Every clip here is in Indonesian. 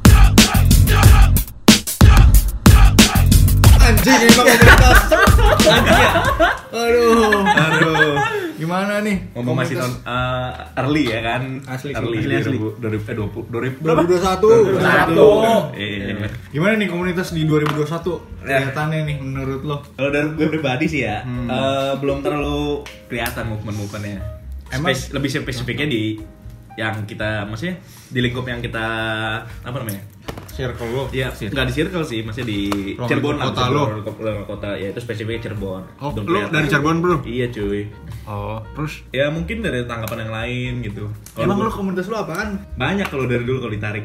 ya? Gimana nih? Ngomong masih non komunitas? eh, early ya kan? Asli, early, asli, asli. 2000, 2020, 2000, berapa? 2021. 2021. Iya. Gimana nih komunitas di 2021? Ya. Kelihatannya nih menurut lo. Kalau dari gue pribadi sih ya, eh, belum terlalu kelihatan movement-movementnya. Emang? Spes- lebih spesifiknya di yang kita maksudnya di lingkup yang kita apa namanya? Circle lo. Ya, nggak di circle sih, maksudnya di Ruang Cirebon lingkup lah, kota Cirebon, lo. ruang lingkup- ruang kota, ya itu spesifiknya Cirebon. Oh, Belum lo kelihatan. dari Cirebon, bro? Iya, cuy. Oh, terus Ya mungkin dari tanggapan yang lain gitu. Kalau Emang gua- lo komunitas lo apaan? banyak kalau dari dulu kalau ditarik.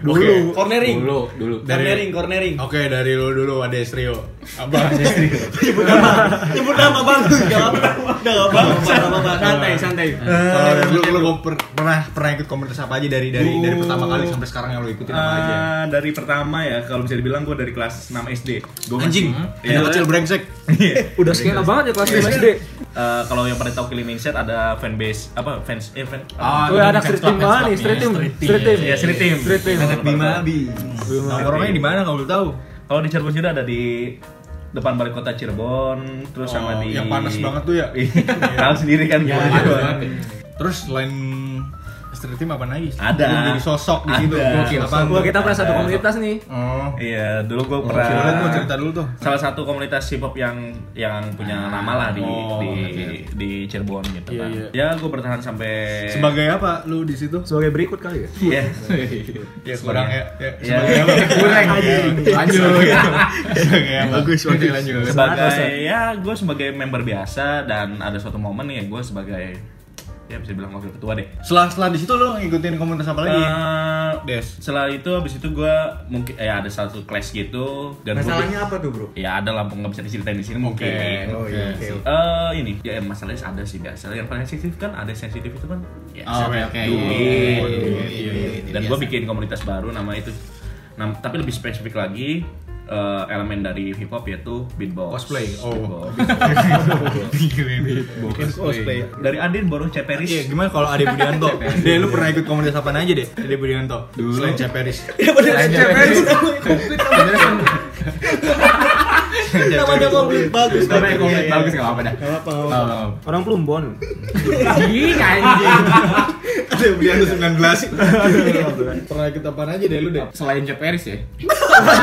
Dulu. Cornering. Dulu, dulu. Dari- Cornering, cornering. Iya. Oke, dari lo dulu ada Estrio. Abang Estrio. Nyebut nama. Nyebut nama, Bang. Enggak apa-apa. Udah enggak apa-apa. Enggak apa-apa. Santai, santai. Kalau dari lo, lo per- pernah pernah ikut komunitas apa aja dari dari dari pertama kali sampai sekarang yang lo ikutin apa aja? Ah, dari pertama ya kalau bisa dibilang gue dari kelas 6 SD. Gua Eh, Anjing, Iya. anak kecil brengsek. Iya. Udah skena banget ya kelas 5 SD. Eh, kalau yang pada tahu Killing Insect ada fanbase apa fans eh fan Ah, Gue anak street Fans club, team banget nih, fans club, street team. iya. Street team. ya street team. Street team. Anak Bima. Nongkrongnya di mana kalau lo tahu? Kalau di Cirebon sudah ada di depan balai kota Cirebon terus sama Oh, di yang panas banget tuh ya? Iya, Tahu sendiri kan gimana. Terus selain street team apa lagi? Ada. Lu Jadi sosok di situ. Ada. Gokil, apaan Wah, tuh? kita pernah satu komunitas nih. Oh. Iya, dulu gue Oh, pernah silakan gua cerita dulu tuh. Salah satu komunitas hip hop yang yang punya nama lah di Oh, di oke. di Cirebon gitu Iya, kan. iya. Ya gue bertahan sampai Sebagai apa lu di situ? Sebagai berikut kali ya. Iya. Ya, kurang ya. ya, Iya. Sebagai apa? Kurang Lanjut. Sebagai apa? Bagus, oke lanjut. sebagai ya gue sebagai member biasa dan ada suatu momen ya gue sebagai ya bisa bilang wakil ketua deh. Setelah setelah di situ lu ngikutin komunitas apa lagi? Eh, Des. setelah itu habis itu gue mungkin ya ada satu clash gitu dan gua- Masalahnya apa tuh, Bro? ya ada lah nggak bisa diceritain di sini Oke. mungkin. Oh iya, oke. Eh ini ya masalahnya ada sih biasa. Yang paling sensitif kan ada yang sensitif itu kan. Ya, Oh, Oke, oke. duit. Iya, Duit. iya, iya, iya. Dan gue bikin komunitas baru nama itu. Nam- tapi lebih spesifik lagi eh, elemen dari hip hop yaitu beatbox. Cosplay. Oh. Beatbox. Iya, Mungkin Cosplay. Dari Adin baru Ceperis. Iya, gimana kalau Ade Budianto? Deh, lu pernah ikut komunitas apa aja deh? Ade Budianto. Selain Ceperis. Iya, bener CPRS. Namanya komplit bagus. Tapi komunitas bagus enggak apa-apa dah. iya. Orang Plumbon. Ade Budianto 19. Pernah ikut apa aja deh lu deh? Selain Jeff Paris ya? Emang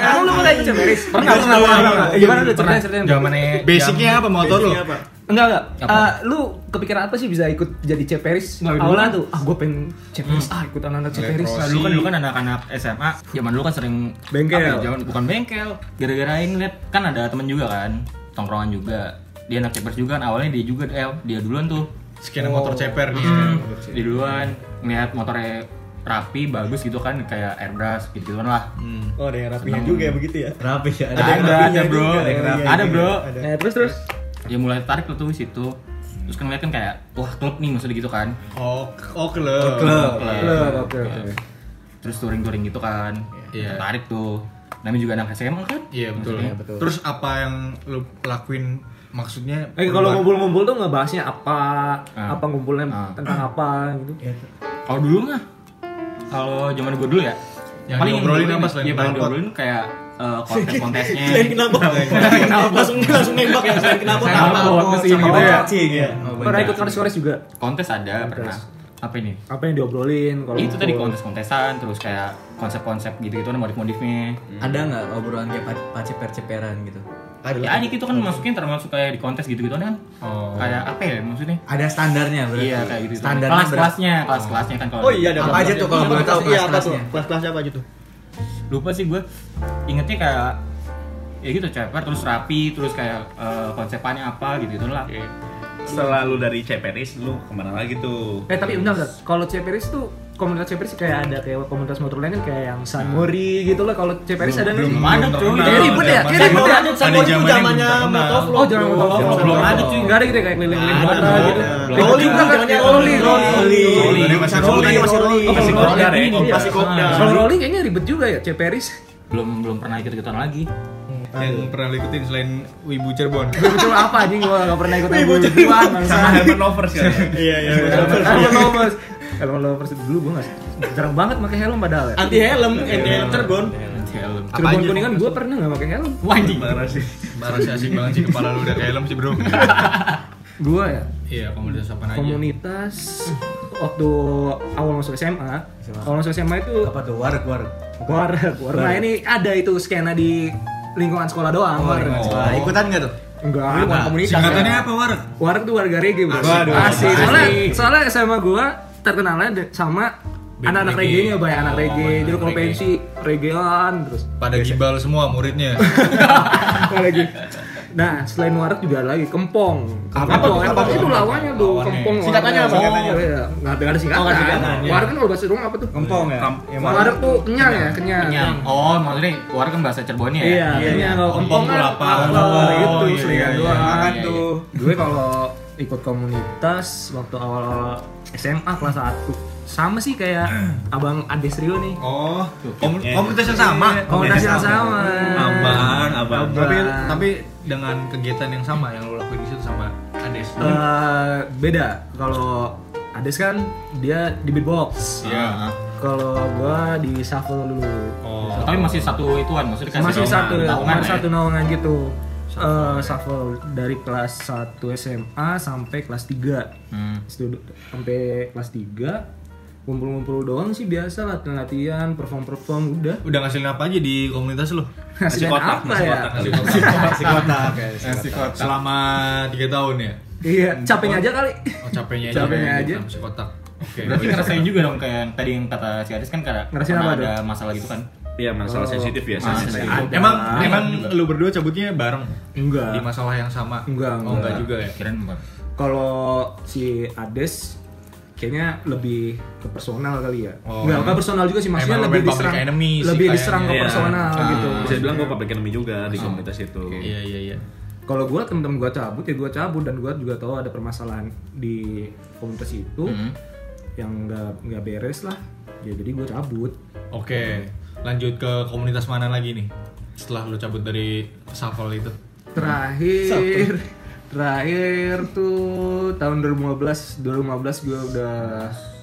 Ah, lu pernah ikut Cemeris? Pernah, Iya. pernah, pernah. Iya, Gimana udah ceritain ceritain. Zamannya Basicnya apa motor lu? Enggak enggak. Apa? Eh, lu kepikiran apa sih bisa ikut jadi Ceperis? Nah, dulu Hmm. Awalnya kan- tuh, ah gue pengen Ceperis, ah ikut anak-anak Ceperis. Nah, dulu kan dulu kan anak-anak SMA zaman dulu kan sering Bengkel. apa ya, zaman bukan bengkel gara-gara ini lihat kan ada temen juga kan tongkrongan juga dia anak cepers juga kan awalnya dia juga eh, dia duluan tuh Hmm, Skena motor ceper nih. dia duluan ngeliat motornya rapi bagus gitu kan kayak airbrush gitu gituan lah Oh, ada yang rapinya Nah. juga ya begitu ya. Rapi ya. ada ada, ada, bro ada, bro Nah, terus terus dia mulai tarik tuh di situ terus kan ngeliat kan kayak wah klub nih maksudnya gitu kan Oh, oh klub. Klub, oke oke. Nah. terus touring-touring gitu kan Iya. tarik tuh namanya juga anak SMA kan Iya betul. Maksudnya. Terus apa yang lu lakuin maksudnya? Eh kalau Nah. perubahan- ngumpul-ngumpul tuh ngebahasnya apa? Ah. Apa ngumpulnya Ah. tentang apa gitu. Ya, Kalau dulu mah, kalau zaman gue dulu ya, Yang diobrolin apa selain ya, paling kenapa? diobrolin kayak eh, kontes-kontesnya. Selain kenapa? Langsung langsung nembak ya selain kenapa? Saya Kenapa? bawa ke sini gitu ya. Cing ya. Pernah ikut kores-kores juga. Kontes ada pernah. Apa ini? Apa yang diobrolin kalau Itu tadi ngumpul? kontes-kontesan, terus kayak konsep-konsep gitu-gitu, ada modif-modifnya. Ada nggak obrolan kayak pa- paceper-ceperan gitu? Ya ada gitu kan masukin termasuk kayak di kontes gitu-gitu kan. Kayak apa ya maksudnya? Ada standarnya berarti. Iya kayak gitu. Standar kelas-kelasnya, kelas-kelasnya kan kalau. Oh iya, ada apa aja tuh kalau boleh tahu Iya, kelas-kelasnya? kelas-kelasnya apa aja tuh? lupa sih gue ingetnya kayak ya gitu ceper terus rapi terus kayak eh, konsepannya apa gitu gitu lah Setelah lu dari Ceperis lu kemana lagi tuh? Eh tapi benar Zat. kalau Ceperis tuh komunitas Ceperis kayak ada kayak komunitas motor lain kan kayak yang Sanmori gitu lah. Kalau Ceperis ada nggak sih? Oh, belum ada, cuy. Kayak ribet ya, kayak ribet ya. Ada zamannya motovlog. Oh, jangan motor Belum- belum ada, cuy. Enggak ada gitu ya, kayak keliling-keliling Ada, kota ada. gitu. Belum. Rolling Juga kan, kan zamannya ya, rolling. rolling. Rolling. Rolling. Masih rolling, masih rolling. Oh, masih rolling. kopdar ya? Iya. Masih kopdar. Kalau rolling kayaknya ribet juga ya Ceperis. belum belum pernah ikut ikutan lagi Yang pernah lu ikutin selain Wibu Cirebon. Gue betul apa anjing gua enggak pernah ikut yang bujuan. Sama Herman Lovers kan. Iya, iya. Helm lovers. Helm lovers itu dulu gue nggak jarang banget pakai helm padahal ya. Anti helm, anti helm Cirebon. Iya, helm Cirebon kuningan gue pernah nggak pakai helm. wah anjing Parah sih. Marah sih asik banget sih kepala lu udah kayak helm sih, Bro. Gua ya Iya, komunitas apa aja? komunitas waktu awal masuk SMA, SMA. awal masuk SMA itu Apa tuh? Wareg, wareg. wareg, wareg. Nah ini ada itu skena di Oh, lingkungan sekolah doang. wareg. Nah, ikutan nggak tuh? Enggak, bukan Warna. komunitas. Singkatannya ya. apa wareg? Wareg tuh warga reggae bro. Asik. Waduh, Asik. asik. Soalnya, soalnya SMA gua terkenalnya de- sama anak-anak reggae. reggae-nya banyak anak Oh, reggae. anak Jadi kalau reggae. pensi reggaean terus. Pada gibal semua muridnya. Apa lagi? Nah, selain wareg juga ada lagi kempong. Apa tuh? Kempong, kempong Apa itu tuh? lawannya tuh Lawannya. kempong. Singkatannya apa? Singkatannya. Enggak ada ada Oh, nggak ada singkatan. singkatan, ya. Wareg kan kalau bahasa rumah apa tuh? Kempong ya? Kamp- Ya, Wareg tuh kenyang ya, kenyang. Oh, maksudnya warga kan bahasa Cirebonnya ya? Iya, Iya, kenyang. Kalau Kempong kempong tuh kan lapar. lapar Oh, gitu, iya, seringan iya, doang. iya, Makan iya. tuh. gitu. gue kalau ikut komunitas waktu awal SMA kelas 1 sama sih kayak abang Ades Rio nih Oh, Iya. kom- komunitas yang sama. komunitas yang sama Oh, Abang, abang. Abang. Tapi tapi dengan kegiatan yang sama yang lo lakuin di situ sama Ades. Eh, beda kalau Ades kan dia di beatbox Iya. kalau gua di shuffle dulu Oh. Tapi masih satu ituan, maksudnya dikasih masih satu naungan, naungan masih ya? satu naungan gitu Eh, shuffle dari kelas 1 SMA sampai kelas 3 Hmm. Studi- sampai kelas 3 ngumpul-ngumpul doang sih biasa latihan-latihan perform-perform udah Udah ngasilin apa aja di komunitas lo? hasilnya kotak, apa nasi ya kotak, nasi Nasi kotak ya. Nasi kotak. Selama 3 tahun ya? iya capeknya aja kali Oh, capeknya aja. Capeknya kayak aja. gitu, Nasi kotak. Oke. Berarti ngerasain juga dong kayak yang tadi yang kata si Adis kan kayak Ngerasain pernah apa ada masalah gitu kan? Iya, masalah Oh. sensitif ya, Masalah sensitif. Ah, sensitif. Emang Udah lah. emang lu berdua cabutnya bareng di enggak masalah yang sama? Enggak, Oh, enggak enggak. juga ya. Kirain apa? kalau si Ades kayaknya lebih ke personal kali ya Oh, enggak emang- ke personal juga sih maksudnya emang lebih main public diserang enemy sih lebih kayaknya. diserang ke Iya. personal Ah. gitu Bisa dibilang gue public enemy juga di komunitas itu. Iya, iya, iya. kalau gue temen-temen gue cabut ya gue cabut dan gue juga tahu ada permasalahan di komunitas itu Hmm. yang nggak nggak beres lah ya jadi gue cabut Oke, lanjut ke komunitas mana lagi nih? Setelah lu cabut dari shuffle itu. terakhir terakhir tuh tahun 2015 2015 gue udah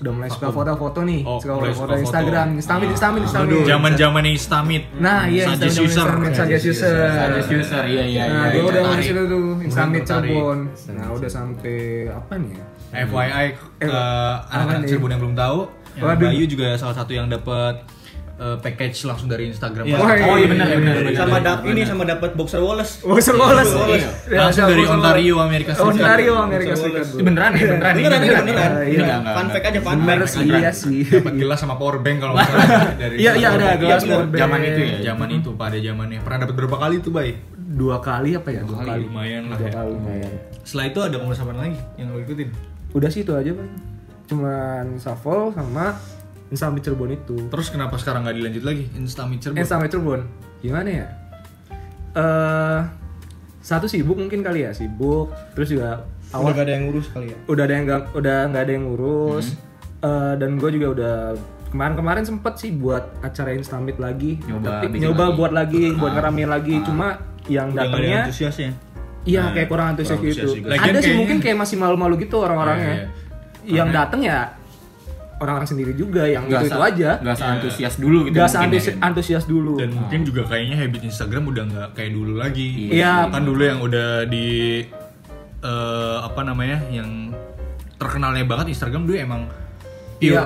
udah mulai suka foto-foto nih Oh, suka mulai foto-foto suka foto. Ah. Instagram Instamin Instamin Instamin Zaman-zamannya Istamit. nah iya Suggest Instagram, user. Instamin Suggest user Adis user, iya iya nah gue iya. udah tertarik. mulai situ tuh Instamin tertarik. Cirebon nah udah sampai apa nih ya FYI ke eh, anak-anak nih? Ya. Cirebon yang belum tahu, yang Waduh. Bayu juga salah satu yang dapat eh, package langsung dari Instagram. Iya. Wah, Oh iya benar benar benar. Sama Iya. dap ini sama dapat boxer Wallace. Boxer Wallace Wallace. Ya, Langsung dari Boxer Ontario, Wallace. Amerika Serikat. Oh, Ontario Amerika Serikat Itu beneran ya, beneran ya. Beneran ini beneran. Iya, Enggak, enggak, Fun fact enggak. aja fun bener fact. sih iya sih Dapat gelas sama power bank kalau nggak salah dari Iya, iya, ada Instagram. gelas Iya, bener. power bank. Zaman itu ya, zaman itu pada zamannya. Pernah dapat berapa kali tuh, Bay? dua kali apa ya Dua dua kali, kali lumayan lah dua ya. kali lumayan Setelah itu ada komunitas apa lagi yang lo ikutin? udah sih itu aja bang cuman shuffle sama Insami Cirebon itu Terus kenapa sekarang nggak dilanjut lagi? Instamit Cirebon. Insami Cirebon gimana ya eh satu sibuk mungkin kali ya sibuk terus juga Udah awal gak ada yang ngurus kali ya. udah ada yang gak, udah nggak ada yang ngurus Eh, dan gue juga udah kemarin-kemarin sempet sih buat acara Instamit lagi Nyoba bikin nyoba lagi. buat lagi buat ngeramein lagi cuma yang Udah nggak ada yang datangnya ya? antusiasnya. Iya kayak kurang antusias kurang gitu. antusias juga. Lagian Ada sih kayaknya- mungkin kayak masih malu-malu gitu orang-orangnya. Iya, Yang dateng ya orang-orang sendiri juga yang Nggak itu itu sa- aja. Nggak se antusias dulu gitu. Gak mungkin antusias, ya. antusias dulu. dan mungkin juga kayaknya habit Instagram udah nggak kayak dulu lagi Iya. kan dulu yang udah di eh, apa namanya yang terkenalnya banget Instagram dulu emang pure Iya.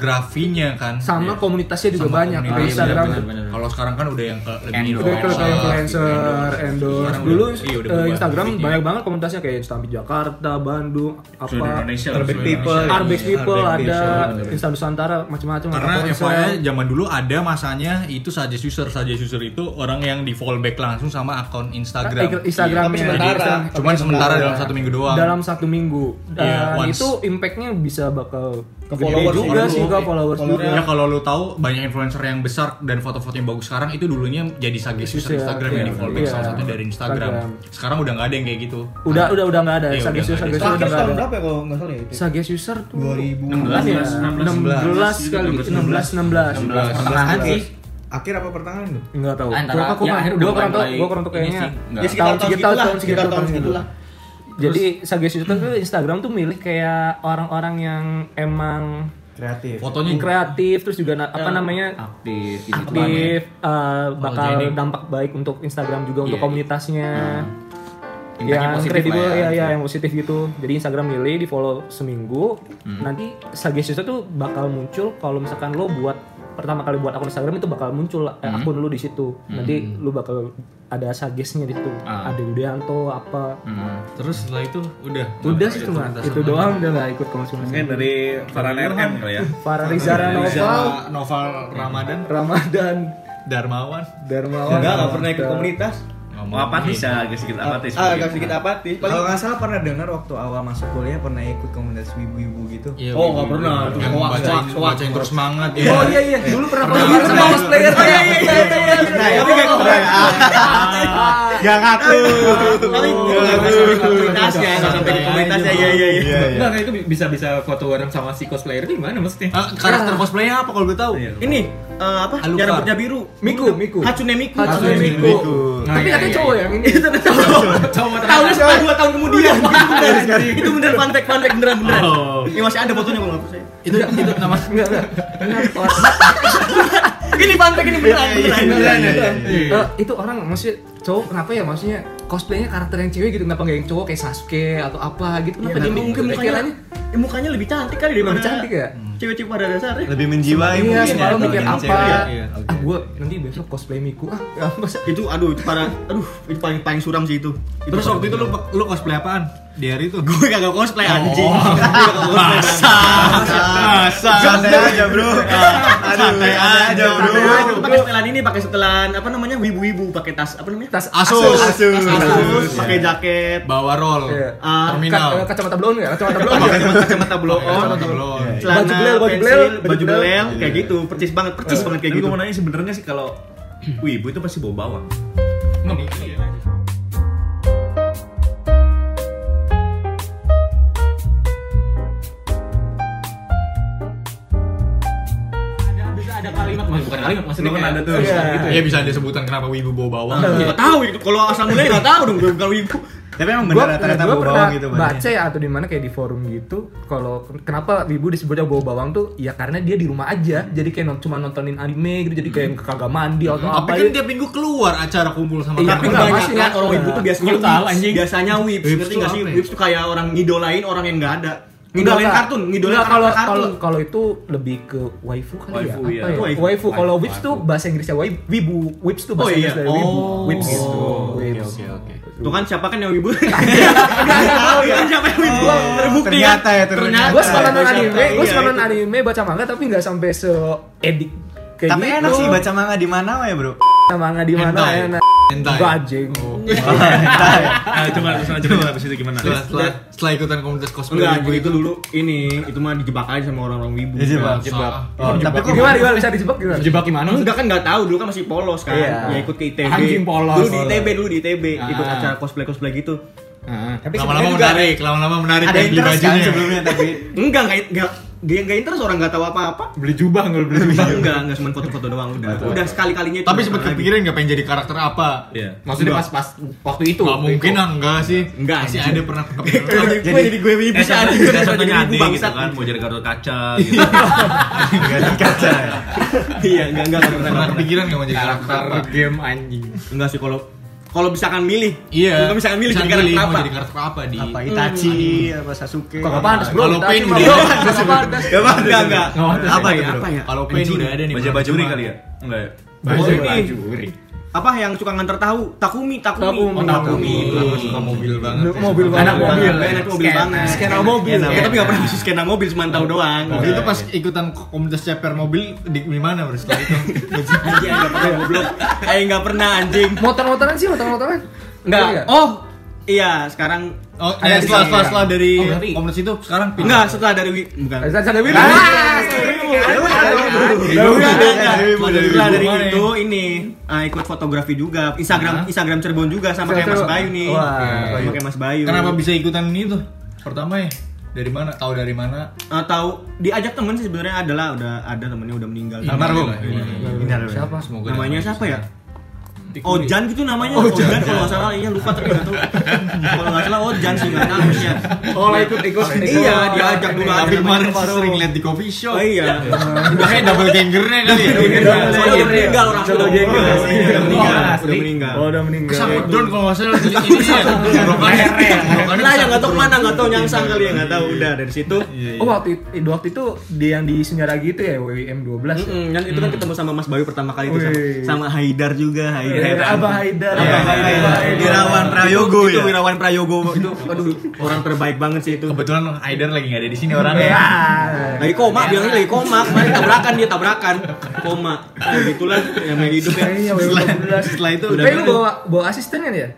fotografinya kan sama Iya. komunitasnya juga Sama banyak komunitas, iya, di Instagram. bener, bener. kalau sekarang kan udah yang ke, lebih Endorse. Udah endorse, kalau kayak iya, influencer, endorse. endorse. Sekarang Dulu udah- iya, udah eh, berubah Instagram habitnya. banyak banget komunitasnya kayak Instamit Jakarta, Bandung, Seluruh apa Indonesia. Terbaik seluruh people. Indonesia. Arbex Iya, People Arbex ada, People. Insta Nusantara macam-macam. karena ada ponsel. FYI zaman dulu ada masanya itu suggest user suggest user itu orang yang di follow back langsung sama akun Instagram Nah, Iya. Instagram Iya. Tapi sementara. cuman sementara dalam satu minggu doang dalam satu minggu dan Iya, once. itu impactnya bisa bakal Ke gede followers juga juga. Iya, sih ke followers Follower- juga Ya kalau lu tahu banyak influencer yang besar dan foto-foto yang bagus sekarang itu dulunya jadi suggest user Iya, Instagram iya, yang di follow back iya. salah satu dari Instagram. Instagram. Sekarang udah nggak ada yang kayak gitu. udah udah udah nggak ada Iya, suggest udah user nggak ada. suggest user Terakhir udah tahun nggak ada berapa ya kalau nggak salah ya itu? suggest user tuh 2000 16 ya 16, 16 kali 16 16 pertengahan sih. Akhir apa pertengahan tuh? nggak tahu Ah, antara- gua aku ya, mah akhir gua udah kurang tahu mulai- gua kurang tahu ini kayaknya sih, nggak. Ya sekitar tahun segitu, segitulah, tahun segitu, sekitar tahun tahun segitulah. jadi suggest user tuh Instagram tuh milih kayak orang-orang yang emang Kreatif. Ya. Fotonya kreatif terus juga na- apa namanya aktif gitu aktif eh, Kalau bakal jadi- dampak baik untuk Instagram juga untuk Iya, komunitasnya Impact-nya yang positif kredibel lah ya, ya, ya, gitu. yang positif gitu jadi Instagram milih di follow seminggu Hmm. nanti suggestion tuh bakal muncul kalau misalkan lo buat pertama kali buat akun Instagram itu bakal muncul eh, Hmm. akun lu di situ nanti lu bakal ada suggestnya di situ Ah. ada Yudianto apa Hmm. Terus setelah itu udah. udah sih cuma itu doang udah nggak ikut konsumsi Mungkin dari Farhan RM kali ya. Farah Rizara Noval Novel, Novel Ramadan, Ramadan Darmawan. Darmawan Enggak, enggak pernah ikut komunitas. Mau apatis ya, agak sedikit apatis. Ah, agak sedikit apatis. Kalau nggak salah pernah dengar waktu awal masuk kuliah pernah ikut komunitas wibu-wibu gitu. Iya, Oh, Wibu. nggak pernah. Itu Yang hoax, bacain, hoax, hoax. bacain terus semangat ya. Oh iya iya dulu pernah Pernah, pernah pernah. pernah player saya Nah, tapi enggak pernah. Gak ngaku. Tapi Oh, Iya, enggak sampai komunitas Iya, ya, enggak sampai di komunitas ya. Iya, iya, iya. Enggak, kayak gitu. itu bi- bisa-bisa foto bareng sama si cosplayer itu gimana maksudnya? Ah, karakter cosplaynya apa kalau gue tahu? Iya. Ini eh, apa? Alukar. Yang rambutnya biru. Miku Miku Hatsune Miku. Hatsune Miku Nah, iya, tapi katanya cowok ya ini Cowok Tahunnya setelah 2 tahun kemudian. Itu beneran. Itu beneran fun fact, fun fact beneran beneran. Ini masih ada fotonya kalau nggak percaya. Itu itu nama enggak enggak Enggak, orang- Ini fun fact ini beneran beneran. beneran. Eh, itu orang maksudnya cowok kenapa ya maksudnya cosplaynya karakter yang cewek gitu kenapa nggak yang cowok kayak Sasuke atau apa gitu kenapa dia Tapi mungkin mukanya pikirannya eh, mukanya lebih cantik kali daripada lebih cantik ya cewek-cewek pada dasarnya. Lebih menjiwai ya, iya mungkin semalam kalau mikir yang apa cewek. iya, ah gue nanti besok cosplay Miku ah ya, masa itu aduh itu parah aduh itu paling paling suram sih itu, itu Terus waktu itu lu lu cosplay apaan? Di hari itu. gue kagak cosplay Oh. anjing masa Masa santai aja bro. Santai aja bro. pakai setelan ini pakai setelan apa namanya wibu-wibu pakai tas apa namanya tas Asus. Asus. tas kasus pakai jaket Bawa roll. Iya. Ah, Terminal. Ka- eh, kacamata blon ya kacamata blon pakai kacamata blow on Kacamata blow on. celana Baju belel, baju pensil, belel, baju baju belel. belel kayak gitu percis banget percis banget kayak Tapi gitu gue Iya. mau nanya sebenarnya sih kalau wibu itu pasti bawa bawang. Ada ada kalimat mas, bukan kalimat maksudnya Lu kan kayak- ada tuh. Iya. gitu ya. Ya bisa disebutkan kenapa wibu bawa bawang. nggak tahu itu kalau asal mulai nggak tahu dong gue bukan wibu Tapi emang Gua- bener rata-rata gua bawa pernah bawang gitu baca ya atau di mana kayak di forum gitu kalau ken- kenapa ibu disebutnya bawa bawang tuh ya karena dia di rumah aja jadi kayak non- cuma nontonin anime gitu jadi kayak kagak mandi atau Tapi apa kan gitu. tiap minggu keluar acara kumpul sama Iya, tapi teman-teman. enggak, kebanyakan masih orang wibu tuh biasanya Lu tahu, wips. anjing. biasanya wips Wips ngerti tuh nggak sih apa ya? wips tuh kayak orang ngidolain orang yang nggak ada Enggak, ngidolain enggak. kartun ngidolain Enggak, kalau karakter kalau kartun kalau itu lebih ke waifu kali Waifu, ya. iya. Apa ya? Waifu. Waifu. Kalau whips tuh bahasa Inggrisnya wai- wibu. Whips tuh bahasa Oh, iya. Inggris dari wibu. Oh. Whips gitu. Oke, Whips. oke, oke. Tuh kan siapa kan yang wibu? Tahu kan siapa yang wibu? Terbukti kan? ternyata ya, ternyata. Gue Nah, suka nonton Iya, anime, iya, gue suka iya, nonton anime baca manga tapi nggak sampai se edik kayak Tapi gitu. enak sih baca manga di mana ya bro? manga di mana Hentai. enak. Hentai. Oh, Gajeng. Ah, coba terus lanjut abis itu gimana? Setelah, Iya. setelah, setelah ikutan komunitas cosplay Enggak, wibu jadi itu itu dulu ini itu mah dijebak aja sama orang-orang wibu. Dijebak. Jebak. Oh, tapi kok Gimana gimana bisa dijebak gimana? Jebak gimana? Enggak kan enggak tahu dulu kan masih polos kan. Iya. Ya ikut ke ITB. Anjing polos. Dulu di ITB dulu di ITB ikut Ah. acara cosplay-cosplay gitu. Heeh. Tapi lama-lama sebenarnya juga- menarik, lama-lama menarik Ada dan beli interest kan bajunya. sebelumnya tapi Enggak enggak enggak dia enggak interest orang enggak tahu apa-apa. Beli jubah nggak lu beli jubah? Enggak, enggak cuma foto-foto doang udah. Udah sekali-kalinya itu Tapi nggak sempat pernah lagi. kepikiran nggak pengen jadi karakter apa? Iya. Maksudnya pas pas waktu itu. Gak mungkin ah, enggak sih. Enggak, Masih anjing. ada pernah kepikiran. Jadi gue jadi gue wibu Eh, sih sama anjing. juga Gue jadi contohnya wibu Ade gitu bangsat. kan, mau jadi kartu kaca gitu. Iya, enggak enggak enggak pernah. Pernah kepikiran nggak mau jadi karakter Karakter apa? game anjing. Enggak sih kalau kalau misalkan milih, Iya. Kalau misalkan milih jadi Hmm. Misalkan karakter mau apa? jadi karakter apa di? apa Itachi apa Sasuke. Kok pantas bro? Kalau Kita Pain cuma- udah. Kok nggak pantas? Enggak, enggak, enggak. Nggak pantas Apa ya, ya? bro? Apa ya? Kalau Pain udah ada nih. Baja bajuri kali ya? Enggak ya? Baju Bajuri. apa yang suka nganter tahu takumi takumi Takumi. Oh, takumi suka mobil banget. ya. Mobil banget. Anak mobil. Banget, enak mobil Skena. banget skena mobil ya, tapi nggak pernah bisa skena mobil cuma tahu doang Gitu. Mobil itu pas ikutan komunitas ceper mobil di, di mana bro setelah itu? anjing nggak pernah goblok eh nggak pernah anjing Motor-motoran sih, motor-motoran. nggak Iya. oh iya sekarang Oh, eh, setelah, setelah, setelah dari Oh, berarti- komunitas itu sekarang pindah. nggak setelah dari wi bukan Ada ada Wibu. iya, Udah, udah, Dari udah. Wibu, dari Setelah Wibu. dari Mana itu ini ah, ikut fotografi juga Instagram Instagram Cirebon juga sama kayak Mas Bayu nih Wah. sama kayak Mas Bayu Nah, Kenapa bisa ikutan ini tuh? Pertama ya dari mana? Tahu dari mana? atau Ah, diajak temen sih sebenarnya adalah udah ada temennya udah meninggal Almarhum. Iya. Benar, benar. Siapa? Semoga namanya dapat siapa ya? Ojan gitu namanya. Ojan, kalau nggak salah iya lupa tapi nggak tahu. kalau nggak salah Ojan sih nggak tahu sih. Oh lah ikut ikut. Iya, diajak dulu aja kemarin sering lihat di coffee Oh shop. iya. Udah kayak double gangernya kali ya. Soalnya udah meninggal orang Udah meninggal. Udah meninggal. Udah meninggal. Oh, udah meninggal. Kesambut drone kalau nggak salah ini ya. Rokannya. Lah yang nggak tahu kemana nggak tahu nyangsang kali ya nggak tahu. Udah dari situ. Oh, waktu itu, waktu itu dia yang di Senyara gitu ya, WIM 12. Mm-mm, Dan itu kan ketemu sama Mas Bayu pertama kali itu sama, Wih. sama Haidar juga Eh, Haidar. Abah Haidar. Iya, Abah Haidar. Wirawan Prayogo Itu- ya. itu Wirawan Prayogo itu aduh orang terbaik banget sih itu. Kebetulan Aider lagi nggak ada di sini orangnya. iya. Lagi koma, bilangnya lagi koma. Kemarin tabrakan dia tabrakan. Koma. Nah, gitulah yang main hidup ya. Kayaknya WIM 12. Setelah itu Eh, lu bawa bawa asisten kan ya?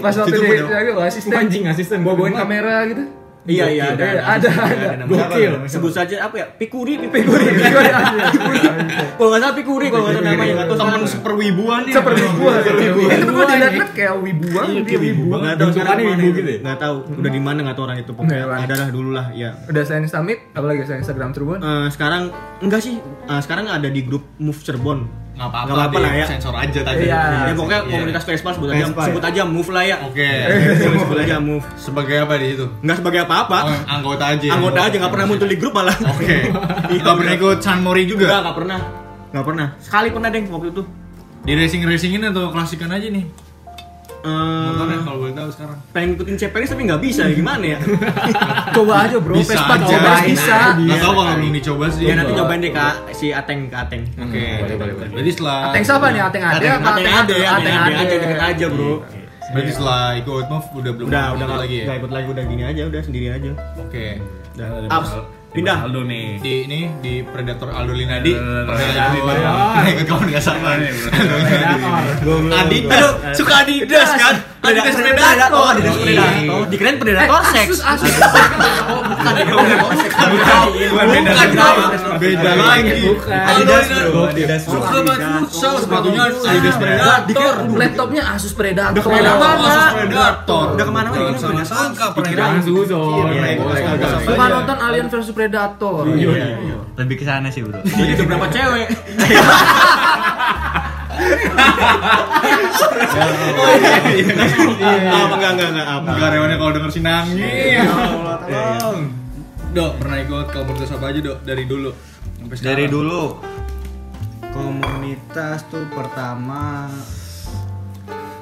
Pas waktu di lagi bawa asisten. Anjing asisten. Bawa bawain kamera gitu. Iya iya ada Eh, ada ada. Gokil. Sebut saja apa ya? Pikuri, Pikuri. Kalau nggak salah Pikuri, kalau nggak salah namanya nggak tahu teman super wibuan ya. nih. Seperti Iya, gua. Eh, Itu gua dilihat kayak wibuan dia wibuan. Nggak tahu sekarang Bentukannya mana ibu itu. gitu ya? Nggak tahu. Udah di mana nggak tahu orang itu pokoknya. Nggak lah. Ada lah dulu lah ya. Udah saya summit, apalagi saya Instagram Tribun. Eh, sekarang enggak sih Eh, sekarang ada di grup Move Cirebon Nggak apa-apa. Nggak apa-apa lah ya. Sensor aja tadi. Iya. ya pokoknya komunitas Vespa sebut aja Vespa, sebut aja Move lah ya Oke. sebut aja Move Sebagai apa di situ? nggak sebagai apa-apa Oh, anggota iya. aja. anggota aja nggak pernah muncul di grup malah Oke. Kita pernah ikut Chan Mori Enggak, juga. nggak pernah nggak pernah sekali pernah deh waktu itu Di racing racingin atau klasikan aja nih. Motornya Eh, kalau boleh tahu sekarang. pengen ngikutin CPNS tapi nggak bisa ya gimana ya Coba aja bro, Bisa Vespa aja. coba bisa. Nggak tahu kalau belum dicoba sih. ya Iya. nanti cobain deh kak si Ateng ke Ateng Oke. Boleh, boleh, boleh. Jadi setelah Ah, Ateng siapa nih? Ateng ada apa? Ateng ada ya Ateng Ateng ada ada. aja deket aja bro Berarti setelah ikut move udah belum udah belum udah nggak lagi ya. nggak ikut lagi udah gini aja udah sendiri aja Oke. Abs, pindah Aldo nih. Di ini di Predator Aldo Eh, Linadi. Predator. Pernah ikut kawan nggak sama. Aduh, suka Adidas kan? Adidas predator, oh, Adidas predator. Dikeren predator seks. Eh, Asus. Oh, bukan ya, bukan. Bukan beda bro. Beda lagi. Bukan. Adidas bro. Adidas bro. Suka banget futsal, sepatunya Adidas Predator. Dikeren Laptopnya Asus Predator. Asus Predator. Udah kemana-mana, Jangan ini salah predator. sangka Dikira- predator. Iya, boleh, iya. boleh. Suka nonton Alien versus Predator. Lebih ke sana sih, Bro. Jadi udah berapa cewek? Oh, iya, iya. Apa enggak enggak enggak apa. Nah. Enggak rewannya kalau denger sih nangis. Dok, pernah ikut komunitas apa aja, Dok? Dari dulu. Sampai sekarang. Dari dulu komunitas tuh pertama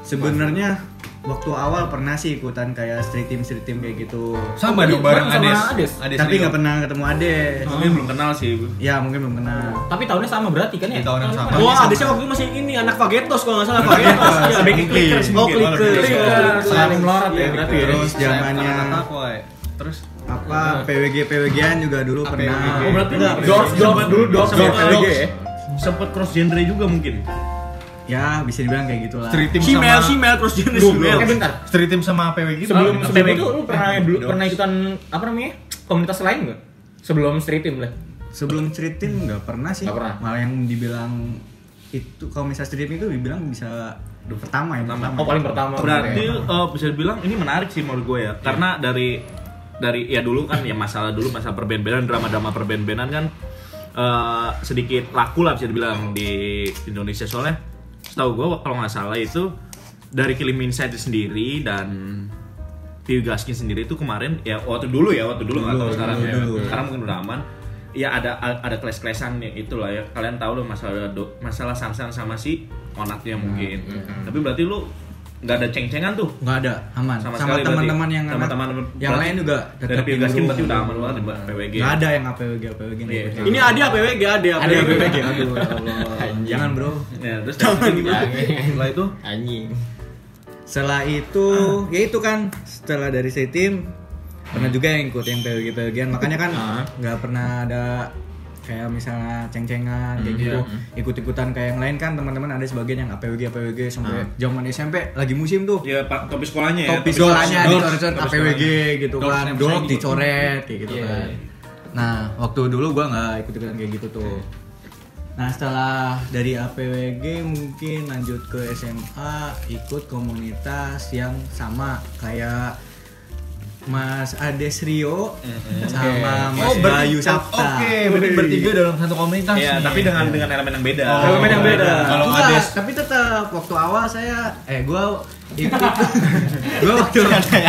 sebenarnya waktu awal pernah sih ikutan kayak street team street team kayak gitu Sama dong bareng Ades. Ades Oh. tapi ini, nggak Dok. pernah ketemu Ade Tapi belum kenal sih. Bu. ya mungkin belum kenal Tapi tahunnya sama berarti kan ya? Di tahun yang sama. Wah, Adesnya waktu itu masih ini anak Vagetos kalau enggak salah Vagetos. Iya, Bikin clickers Oh, mungkin. clicker. Clicker. iya. Selalu melorot ya berarti ya. terus zamannya Terus Iya. apa PWG PWGan juga dulu pernah Oh, enggak. Dorf, dorf dulu, dorf, dorf. Sempet cross genre juga mungkin. ya bisa dibilang kayak gitulah street team Shimel, sama Shimel, cross jenis Shimel. Eh bentar. street team sama PWG Nah, itu Sebelum belum- sebelum itu lu pernah dulu pernah ikutan apa namanya? Komunitas lain enggak? Sebelum street team lah. sebelum street team nggak pernah sih Nggak pernah. malah yang dibilang itu kalau misalnya street team itu dibilang bisa pertama ya pertama Oh paling pertama. Berarti eh, bisa dibilang ini menarik sih menurut gue ya. Karena dari dari ya dulu kan ya masalah dulu masalah perben-benan drama-drama perben-benan kan eh, sedikit laku lah bisa dibilang di Indonesia soalnya setahu gue kalau nggak salah itu dari Kilim Insight sendiri dan Piu Gaskin sendiri itu kemarin ya waktu dulu ya waktu dulu nggak tahu sekarang ya. sekarang mungkin udah aman ya ada ada clash clashan ya itulah ya kalian tahu loh masalah do- masalah samsan sama si onatnya Nah, mungkin tapi berarti lu nggak ada ceng-cengan tuh nggak ada aman sama, sama, sekali berarti. ya? teman-teman yang sama anak- teman yang lain juga dari tetap Piu Gaskin dulu. berarti udah aman banget ya, di PWG nggak ada yang APWG APWG yang Iya. ikut. Ini Ade apa PWG? Ade apa Ade, PWG? PWG. aduh ya Allah. jangan bro ya, terus dari itu gimana? setelah itu Anjing. setelah itu ya itu kan setelah dari si tim pernah juga yang ikut yang PWG PWGan makanya kan nggak pernah ada kayak misalnya ceng-cengan kayak gitu ikut-ikutan kayak yang lain kan teman-teman ada sebagian yang APWG APWG sampai zaman SMP lagi musim tuh ya pak topi sekolahnya ya topi topi sekolahnya sekolah. dicoret APWG gitu Dors kan nempel dok gitu. dicoret kayak gitu Iya, kan iya. nah waktu dulu gua nggak ikut ikutan kayak gitu tuh nah setelah dari APWG mungkin lanjut ke SMA ikut komunitas yang sama kayak Mas Ades Rio sama Mas ber- Bayu Sapta. Oh, Oke, berarti bertiga dalam satu komunitas. Iya, nih. tapi dengan dengan elemen yang beda. Oh. Kalau yang beda. Kalau Enggak, Ades- tapi tetap waktu awal saya eh gua ikut gua waktu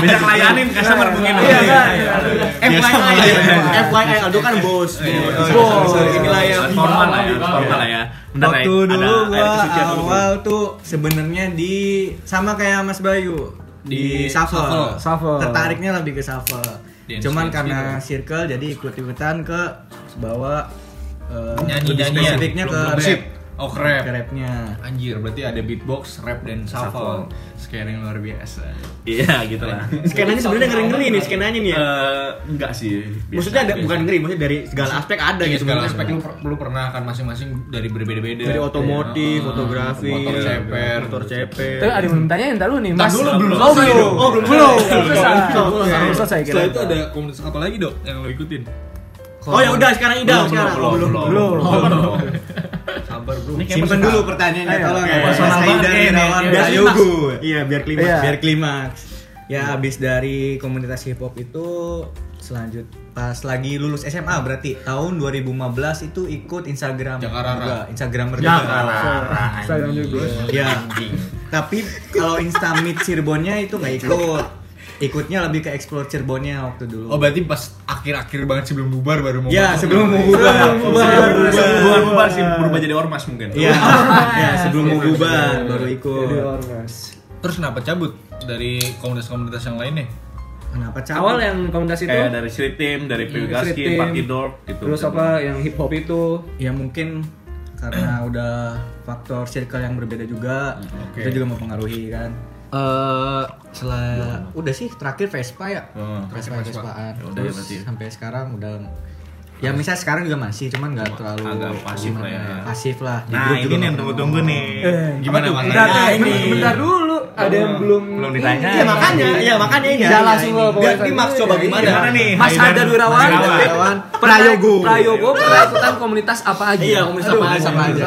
Bisa kelayanin customer mungkin. Iya, kan? Biasa FYI, melayan. FYI Aldo kan bos. iya, Bos. sorry, sorry. Inilah ya. Formal lah ya, formal lah ya. Bentar, waktu Ray. dulu Ada gua air kesucian dulu. awal tuh sebenarnya di sama kayak Mas Bayu di, Di shuffle. shuffle. Shuffle. Tertariknya lebih ke shuffle. Dance Cuman dance karena circle jadi ikut-ikutan ke bawa eh, lebih nyanyi nyanyian. spesifiknya ke Belum rap. musik. Oh, rap. Ke rapnya. Anjir, berarti ada beatbox, rap dan Shuffle. shuffle. Scaring luar biasa. Iya, gitu lah. Skenanya sebenarnya ngeri-ngeri nih skenanya nih ya. Eh, enggak sih. biasa. Maksudnya ada bukan ngeri, maksudnya dari segala aspek ada Iya, gitu. segala aspek lu, per- lu pernah kan masing-masing dari berbeda-beda. Dari otomotif, Iya. fotografi, motor ceper, motor ceper. Terus ada yang belum tanyain ntar lu nih Ntar mas dulu, belum Oh selesai belum dong. Oh belum Belum Selesai Belum selesai kira Setelah itu ada komunitas apa lagi, Dok? Yang lo ikutin? Oh ya udah sekarang idam Belum, sekarang. belum, Oh, belum. belum, Belum Sabar, Bro. Simpen dulu pertanyaannya Ayo, tolong oke. ya. Personal Mas Haidar banget ini, Irawan ini. Bayu Gu. Iya biar klimaks. Iya. biar klimaks ya Iya. abis dari komunitas hip hop itu selanjut pas lagi lulus SMA berarti tahun 2015 itu ikut Instagram Jakarara. juga Instagramer juga Instagram juga Iya, ya tapi kalau Instamit Cirebonnya itu nggak ikut ikutnya lebih ke explore Cirebonnya waktu dulu Oh, berarti pas akhir-akhir banget sebelum bubar baru mau ya Iya, masuk. sebelum mau bubar Bukan Sebelum bubar, mau bukan bubar sih, berubah jadi ormas mungkin. Iya, ya, sebelum mau bubar baru ikut. Jadi ormas Terus kenapa cabut dari komunitas-komunitas yang lainnya? Kenapa cabut? Awal yang komunitas itu Kayak dari Street Team, dari PW Gaskin, Iya, Street Team. Party Dork gitu. Terus apa yang hip hop itu ya mungkin karena udah faktor circle yang berbeda juga Oke. itu juga mempengaruhi kan eh setelah udah sih terakhir Vespa ya Oh, Hmm, Vespa terakhir Vespa. Vespaan Ya udah ya terus berarti. sampai sekarang udah ya misalnya sekarang juga masih cuman nggak terlalu agak pasif lah ya. pasif lah Di Nah, grup ini juga nih nggak yang pernah tunggu-tunggu ngomong. nih. Gimana Mas? Bentar, Nah, bentar, bentar dulu Ada yang belum Belum ditanya. Iya makanya, iya makanya ini. Udah langsung lo Biar pokoknya. klimaks coba Iya, gimana? Gimana nih? Mas Haidar? Iya, Haidar Wirawan Mas Haidar Wirawan. Prayogo Prayogo Perekrutan komunitas apa aja Iya, komunitas apa aja. sama aja.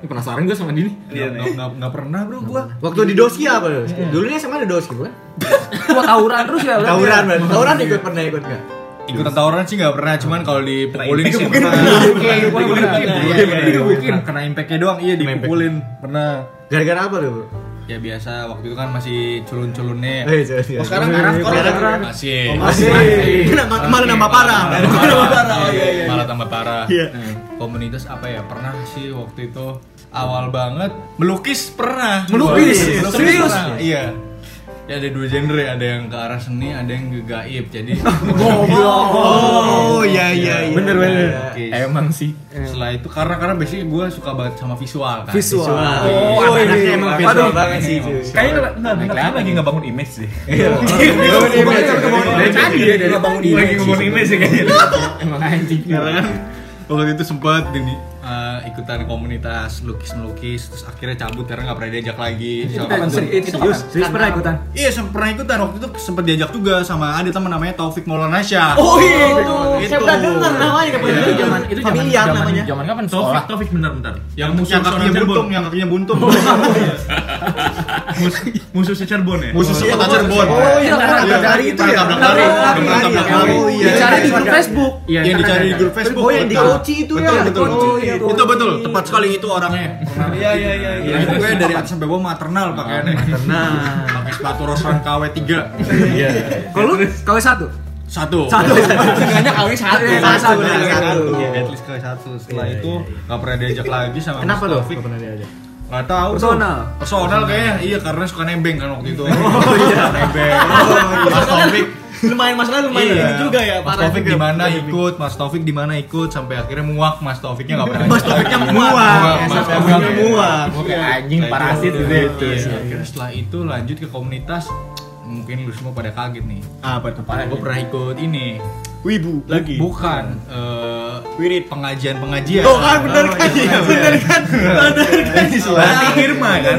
Ini Penasaran gue sama Dini? Nggak- Iya, nggak- nggak- nggak pernah, Bro, gua. Waktu di Doski apa? Dos? Dulunya sama ada Doski bukan? Wah tawuran terus ya lo ya. Tauran berarti. Tauran ikut pernah ikut enggak? Ikutan tawuran sih nggak pernah, cuman kalau dipukulin Impact sih sih pernah. Oke, gua pernah. Iya, Digebukin. Kena impactnya doang, iya dipukulin pernah. Gara-gara apa lu? Ya biasa waktu itu kan masih culun-culunnya. Eh, iya, iya. Oh, sekarang keras kok. Sekarang- Oh, Masih. Masih. Kenapa kemarin nambah parah? Malah Nambah tambah parah. parah. Oh, iya, iya. Malah tambah parah. Iya. Hmm. Komunitas apa ya? Pernah sih waktu itu awal banget melukis pernah. Melukis? Serius? pernah, Iya. Ya ada dua genre, ada yang ke arah seni, ada yang ke gaib. Jadi Oh, iya iya iya. Bener bener. Oke. Emang sih. Setelah itu karena karena biasanya gue suka banget sama visual kan. Visual. Oh, Oh, anaknya iya. emang Aduh. visual banget sih. Iya, cuy. Kayaknya nggak bentar lagi nggak bangun image sih. Iya, Iya, Dari tadi ya dari bangun ini. Lagi ngomongin image sih kayaknya. Emang anjing Karena kan waktu itu sempat ini eh, ikutan komunitas lukis melukis terus akhirnya cabut karena nggak pernah diajak lagi Iya, sama Serius, serius, serius pernah ikutan? Iya, sem- pernah ikutan waktu itu sempat diajak juga sama ada teman namanya Taufik Maulana Syah. Oh iya, itu. Saya udah dengar namanya kapan itu zaman itu zaman Familiar namanya. Zaman kapan Taufik, sekolah? Taufik bentar-bentar. yang musuh yang kakinya buntung, yang kakinya buntung. Oh, Musuh si Cirebon ya. musuh kota Cirebon. iya. Oh iya, pernah Iya, tabrak lari itu pernah ya. tabrak lari, Pernah pernah lari, tabrak iya. lari. Oh iya. Dicari di grup Facebook Iya, yang dicari di grup Facebook. Oh yang di betul. Kochi itu ya. Betul, betul. Oh, iya, Kochi. Itu betul, tepat sekali itu orangnya. Iya, iya, iya. Itu gue dari atas sampai bawah maternal pakaiannya. Maternal. Pakai sepatu Rosran KW 3. Kalau lu KW satu? Satu. Seenggaknya kawin satu. Iya, Satu. satu, bener, satu. satu. Iya, at least ke satu. Setelah itu nggak pernah diajak lagi sama Iya, Kenapa Mas lo? Taufik. pernah diajak? Gak tahu. Personal. tuh. Personal kayaknya. Iya, karena suka nembeng kan waktu Oh, itu. iya. Nembeng. Mas Taufik. Lumayan masalah lumayan Iya. ini juga ya. Mas parah Taufik juga. di mana ikut, Mas Taufik di mana ikut sampai akhirnya muak Mas Taufiknya enggak pernah. Mas Taufiknya muak. Mas Taufiknya muak. Oke, anjing parasit gitu. Iya. Akhirnya setelah itu lanjut ke komunitas mungkin lu semua pada kaget nih. Ah, Apa tuh? Padahal gue pernah ikut ini. Wibu lagi. Bukan eh, Wirid. pengajian-pengajian. Tuh kan bener kan? Iya, Bener kan? Bener Nah, kan? Berarti Irma kan?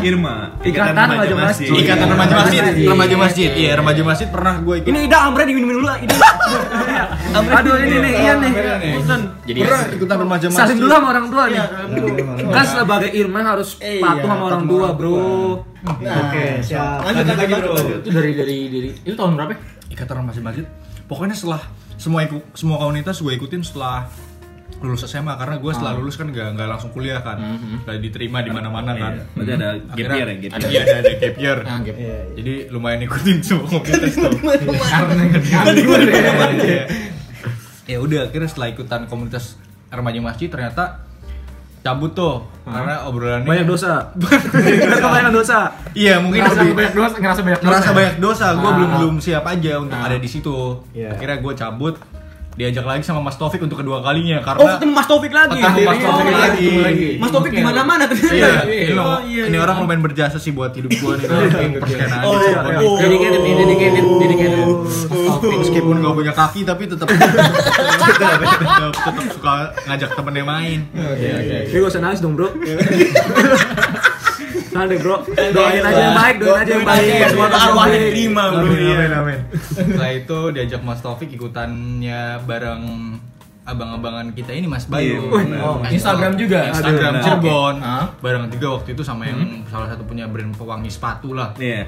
Irma. Ikatan Remaja Masjid. Iya. Ikatan remaja masjid, Masjid. remaja masjid. Iya, remaja masjid pernah gue ikut. Ini Ida Amre diminum dulu lah. Ida. Aduh ini nih, iya nih Jadi ya. pernah ikutan remaja masjid. Salim dulu sama orang tua nih Kan sebagai Irman harus Iya, patuh sama orang tua bro Oke, siap. Itu dari dari dari itu tahun berapa? ya? ikatan masjid masjid pokoknya setelah semua iku- semua komunitas gue ikutin setelah lulus SMA karena gue Ah. setelah lulus kan nggak nggak langsung kuliah kan nggak diterima di mana-mana kan Hmm, Iya. Berarti ada gap Akhirnya- year ya, gap year. Ah, iya ada, ada gap year Nah, gitu. jadi lumayan ikutin semua komunitas tuh Karena Iya. ya udah akhirnya setelah ikutan komunitas remaja masjid ternyata cabut tuh Hmm. karena obrolannya Banyak dosa. Kan Kebanyakan dosa. iya mungkin ngerasa lebih- banyak dosa, ngerasa banyak dosa. ngerasa banyak dosa gue Ah. belum belum siap aja untuk ada di situ Iya. akhirnya gue cabut diajak lagi sama Mas Taufik untuk kedua kalinya Oh, karena ketemu Mas Taufik lagi. ketemu Mas Taufik Oh, lagi. Ketemu lagi. Mas Taufik Oke. di mana-mana ternyata. Iya, ya? ini, Oh, loh, iya, ini iya. orang lumayan berjasa sih buat hidup gue nih dalam perskenaan Oh, gitu. iya. Gua- Dedicated nih, dedicated, dedicated. meskipun gak punya kaki tapi tetap tetap tetap suka ngajak temennya main Ini gak usah nangis dong bro. Jangan deh bro. Doain aja yang baik, doain aja yang baik. Doain aja, semoga arwahnya diterima, bro. setelah itu diajak Mas Taufik ikutannya bareng abang-abangan kita ini Mas Bayu Iya. Oh, Instagram juga. Instagram Aduh. Cirebon Hah? bareng juga waktu itu sama yang salah satu punya brand pewangi sepatu lah Iya.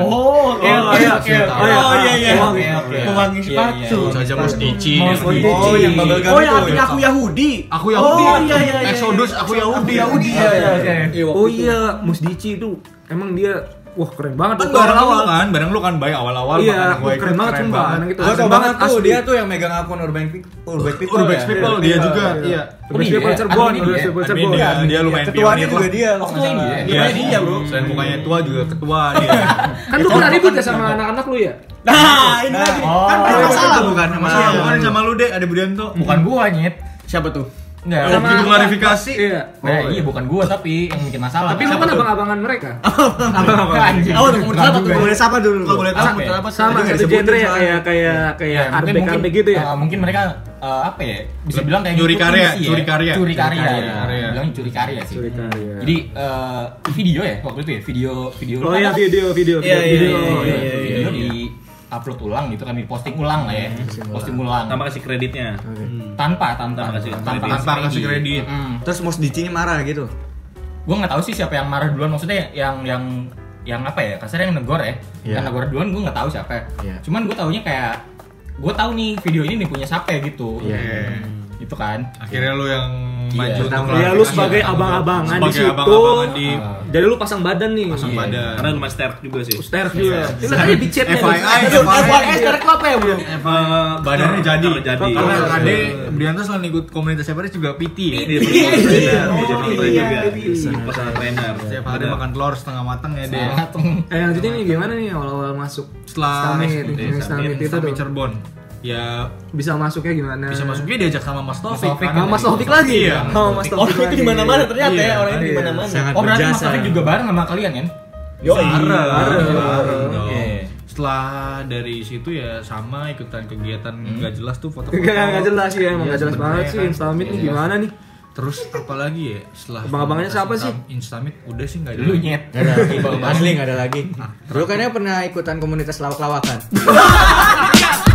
Oh, oke Oh, oke iya, oke. iya. Oh, iya iya. Oke, Gitu oke. kan. Pewangi Iya, sepatu. iya, iya. saja Mas Dici Mas yang- Dici. Oh, yang bubble gum Oh, itu. yang artinya aku Yahudi. aku Yahudi Oh, iya, iya, iya. Exodus aku Yahudi Yahudi. Iya, iya, oke. Oh iya, Mus Dici itu emang dia wah keren banget kan waktu bareng lu awal-awal. kan bareng lu kan baik awal-awal Iya, makanya gua wah, keren ikut, banget sumpah. Emang gitu. Gue tau Keren banget tuh asli. dia tuh yang megang akun Urban Pic- Urban People. Urbex ya? People dia Iya, juga iya. iya Urbex Oh, People iya. Cirebon, Admin ya. Urbex dia. People Admin Cirebon. dia, dia lumain Ketuanya pionir juga lah dia. kalau nggak Ketua ini salah. ya? Iya, Ketuanya dia bro. Selain mukanya tua juga ketua iya. dia. Kan lu pernah ribut ya sama anak-anak lu ya? Nah, ini lagi. Kan Oh. banyak masalah bukan? bukan sama Iya, bukan sama lu deh, ada Budianto. Bukan gua nyet. Siapa tuh? Enggak. Kalau Sama- begitu klarifikasi. Iya. Nah, iya bukan gua tapi yang bikin masalah. Tapi lu kan abang-abangan mereka. anjing. Oh, tuh komunitas apa tuh? Komunitas apa dulu? Kalau boleh tahu muter apa Sama Tadi Iya, nggak satu disebutin genre ya soalnya. kayak kayak kayak Iya, mungkin- art mungkin, gitu ya. Ah, uh, mungkin mereka uh, apa ya? Bisa bilang kayak Curi gitu karya, sih ya. curi karya. Curi karya. Curi ya. karya. Bilang curi karya sih. Curi Nah, karya. iya. Jadi uh, video ya waktu itu ya, video video. Oh iya video video video. Iya, iya, video. iya, iya, iya. Video di upload ulang gitu kami posting ulang lah ya. Posting ulang. Tanpa kasih kreditnya. Tanpa tanpa Tanpa kasih- Tanpa kasih kredit. Hmm. Mm. Terus Mos Dicinya marah gitu. gue nggak tahu sih siapa yang marah duluan maksudnya yang yang yang apa ya kasarnya yang negor ya Iya. yang negor duluan gue nggak tahu siapa Iya. cuman gue taunya kayak gue tahu nih video ini nih punya siapa ya gitu gitu kan Akhirnya lu yang Iya, maju Ah. untuk pertama. klarifikasi. Ya lu sebagai abang-abangan di Sebagai situ. Ah. abang-abangan di Jadi lu pasang badan nih. pasang Iya. badan. Karena rumah sterk juga sih. Stairs juga. Iya. Ini tadi di chat ya. FYI, Aduh, FYI, sekarang kenapa ya, bro? Eh, badannya jadi. Badannya jadi. Karena Iya. Ade Budianto selalu ikut komunitas siapa juga PT ya. Iya, personal trainer, personal trainer juga. Personal trainer. Setiap hari makan telur setengah matang ya deh. Eh lanjutnya nih gimana nih awal-awal masuk? Setelah Summit, Iya, summit itu Summit tuh. Cirebon. Ya Bisa masuknya gimana? bisa masuknya diajak sama Mas Taufik. Taufik. kan? Sama Mas Taufik lagi. Iya. Sama Mas Taufik. Orang itu di mana-mana ternyata ya, orang itu di Iya. mana-mana. Sangat oh berarti mas berjasa. Taufik juga bareng sama kalian kan Yo, bareng, bareng. bareng dong. Iya. Setelah dari situ ya sama ikutan kegiatan nggak jelas tuh foto-foto. Gak, gak Hmm. jelas sih emang Iya, gak jelas banget sebenarnya sih kan. Instamit nih Iya. gimana nih? Terus apalagi ya setelah Abang-abangannya siapa Instam- Instamit udah sih nggak ada. lu nyet Asli nggak ada lagi. Lu kayaknya pernah ikutan komunitas lawak-lawakan.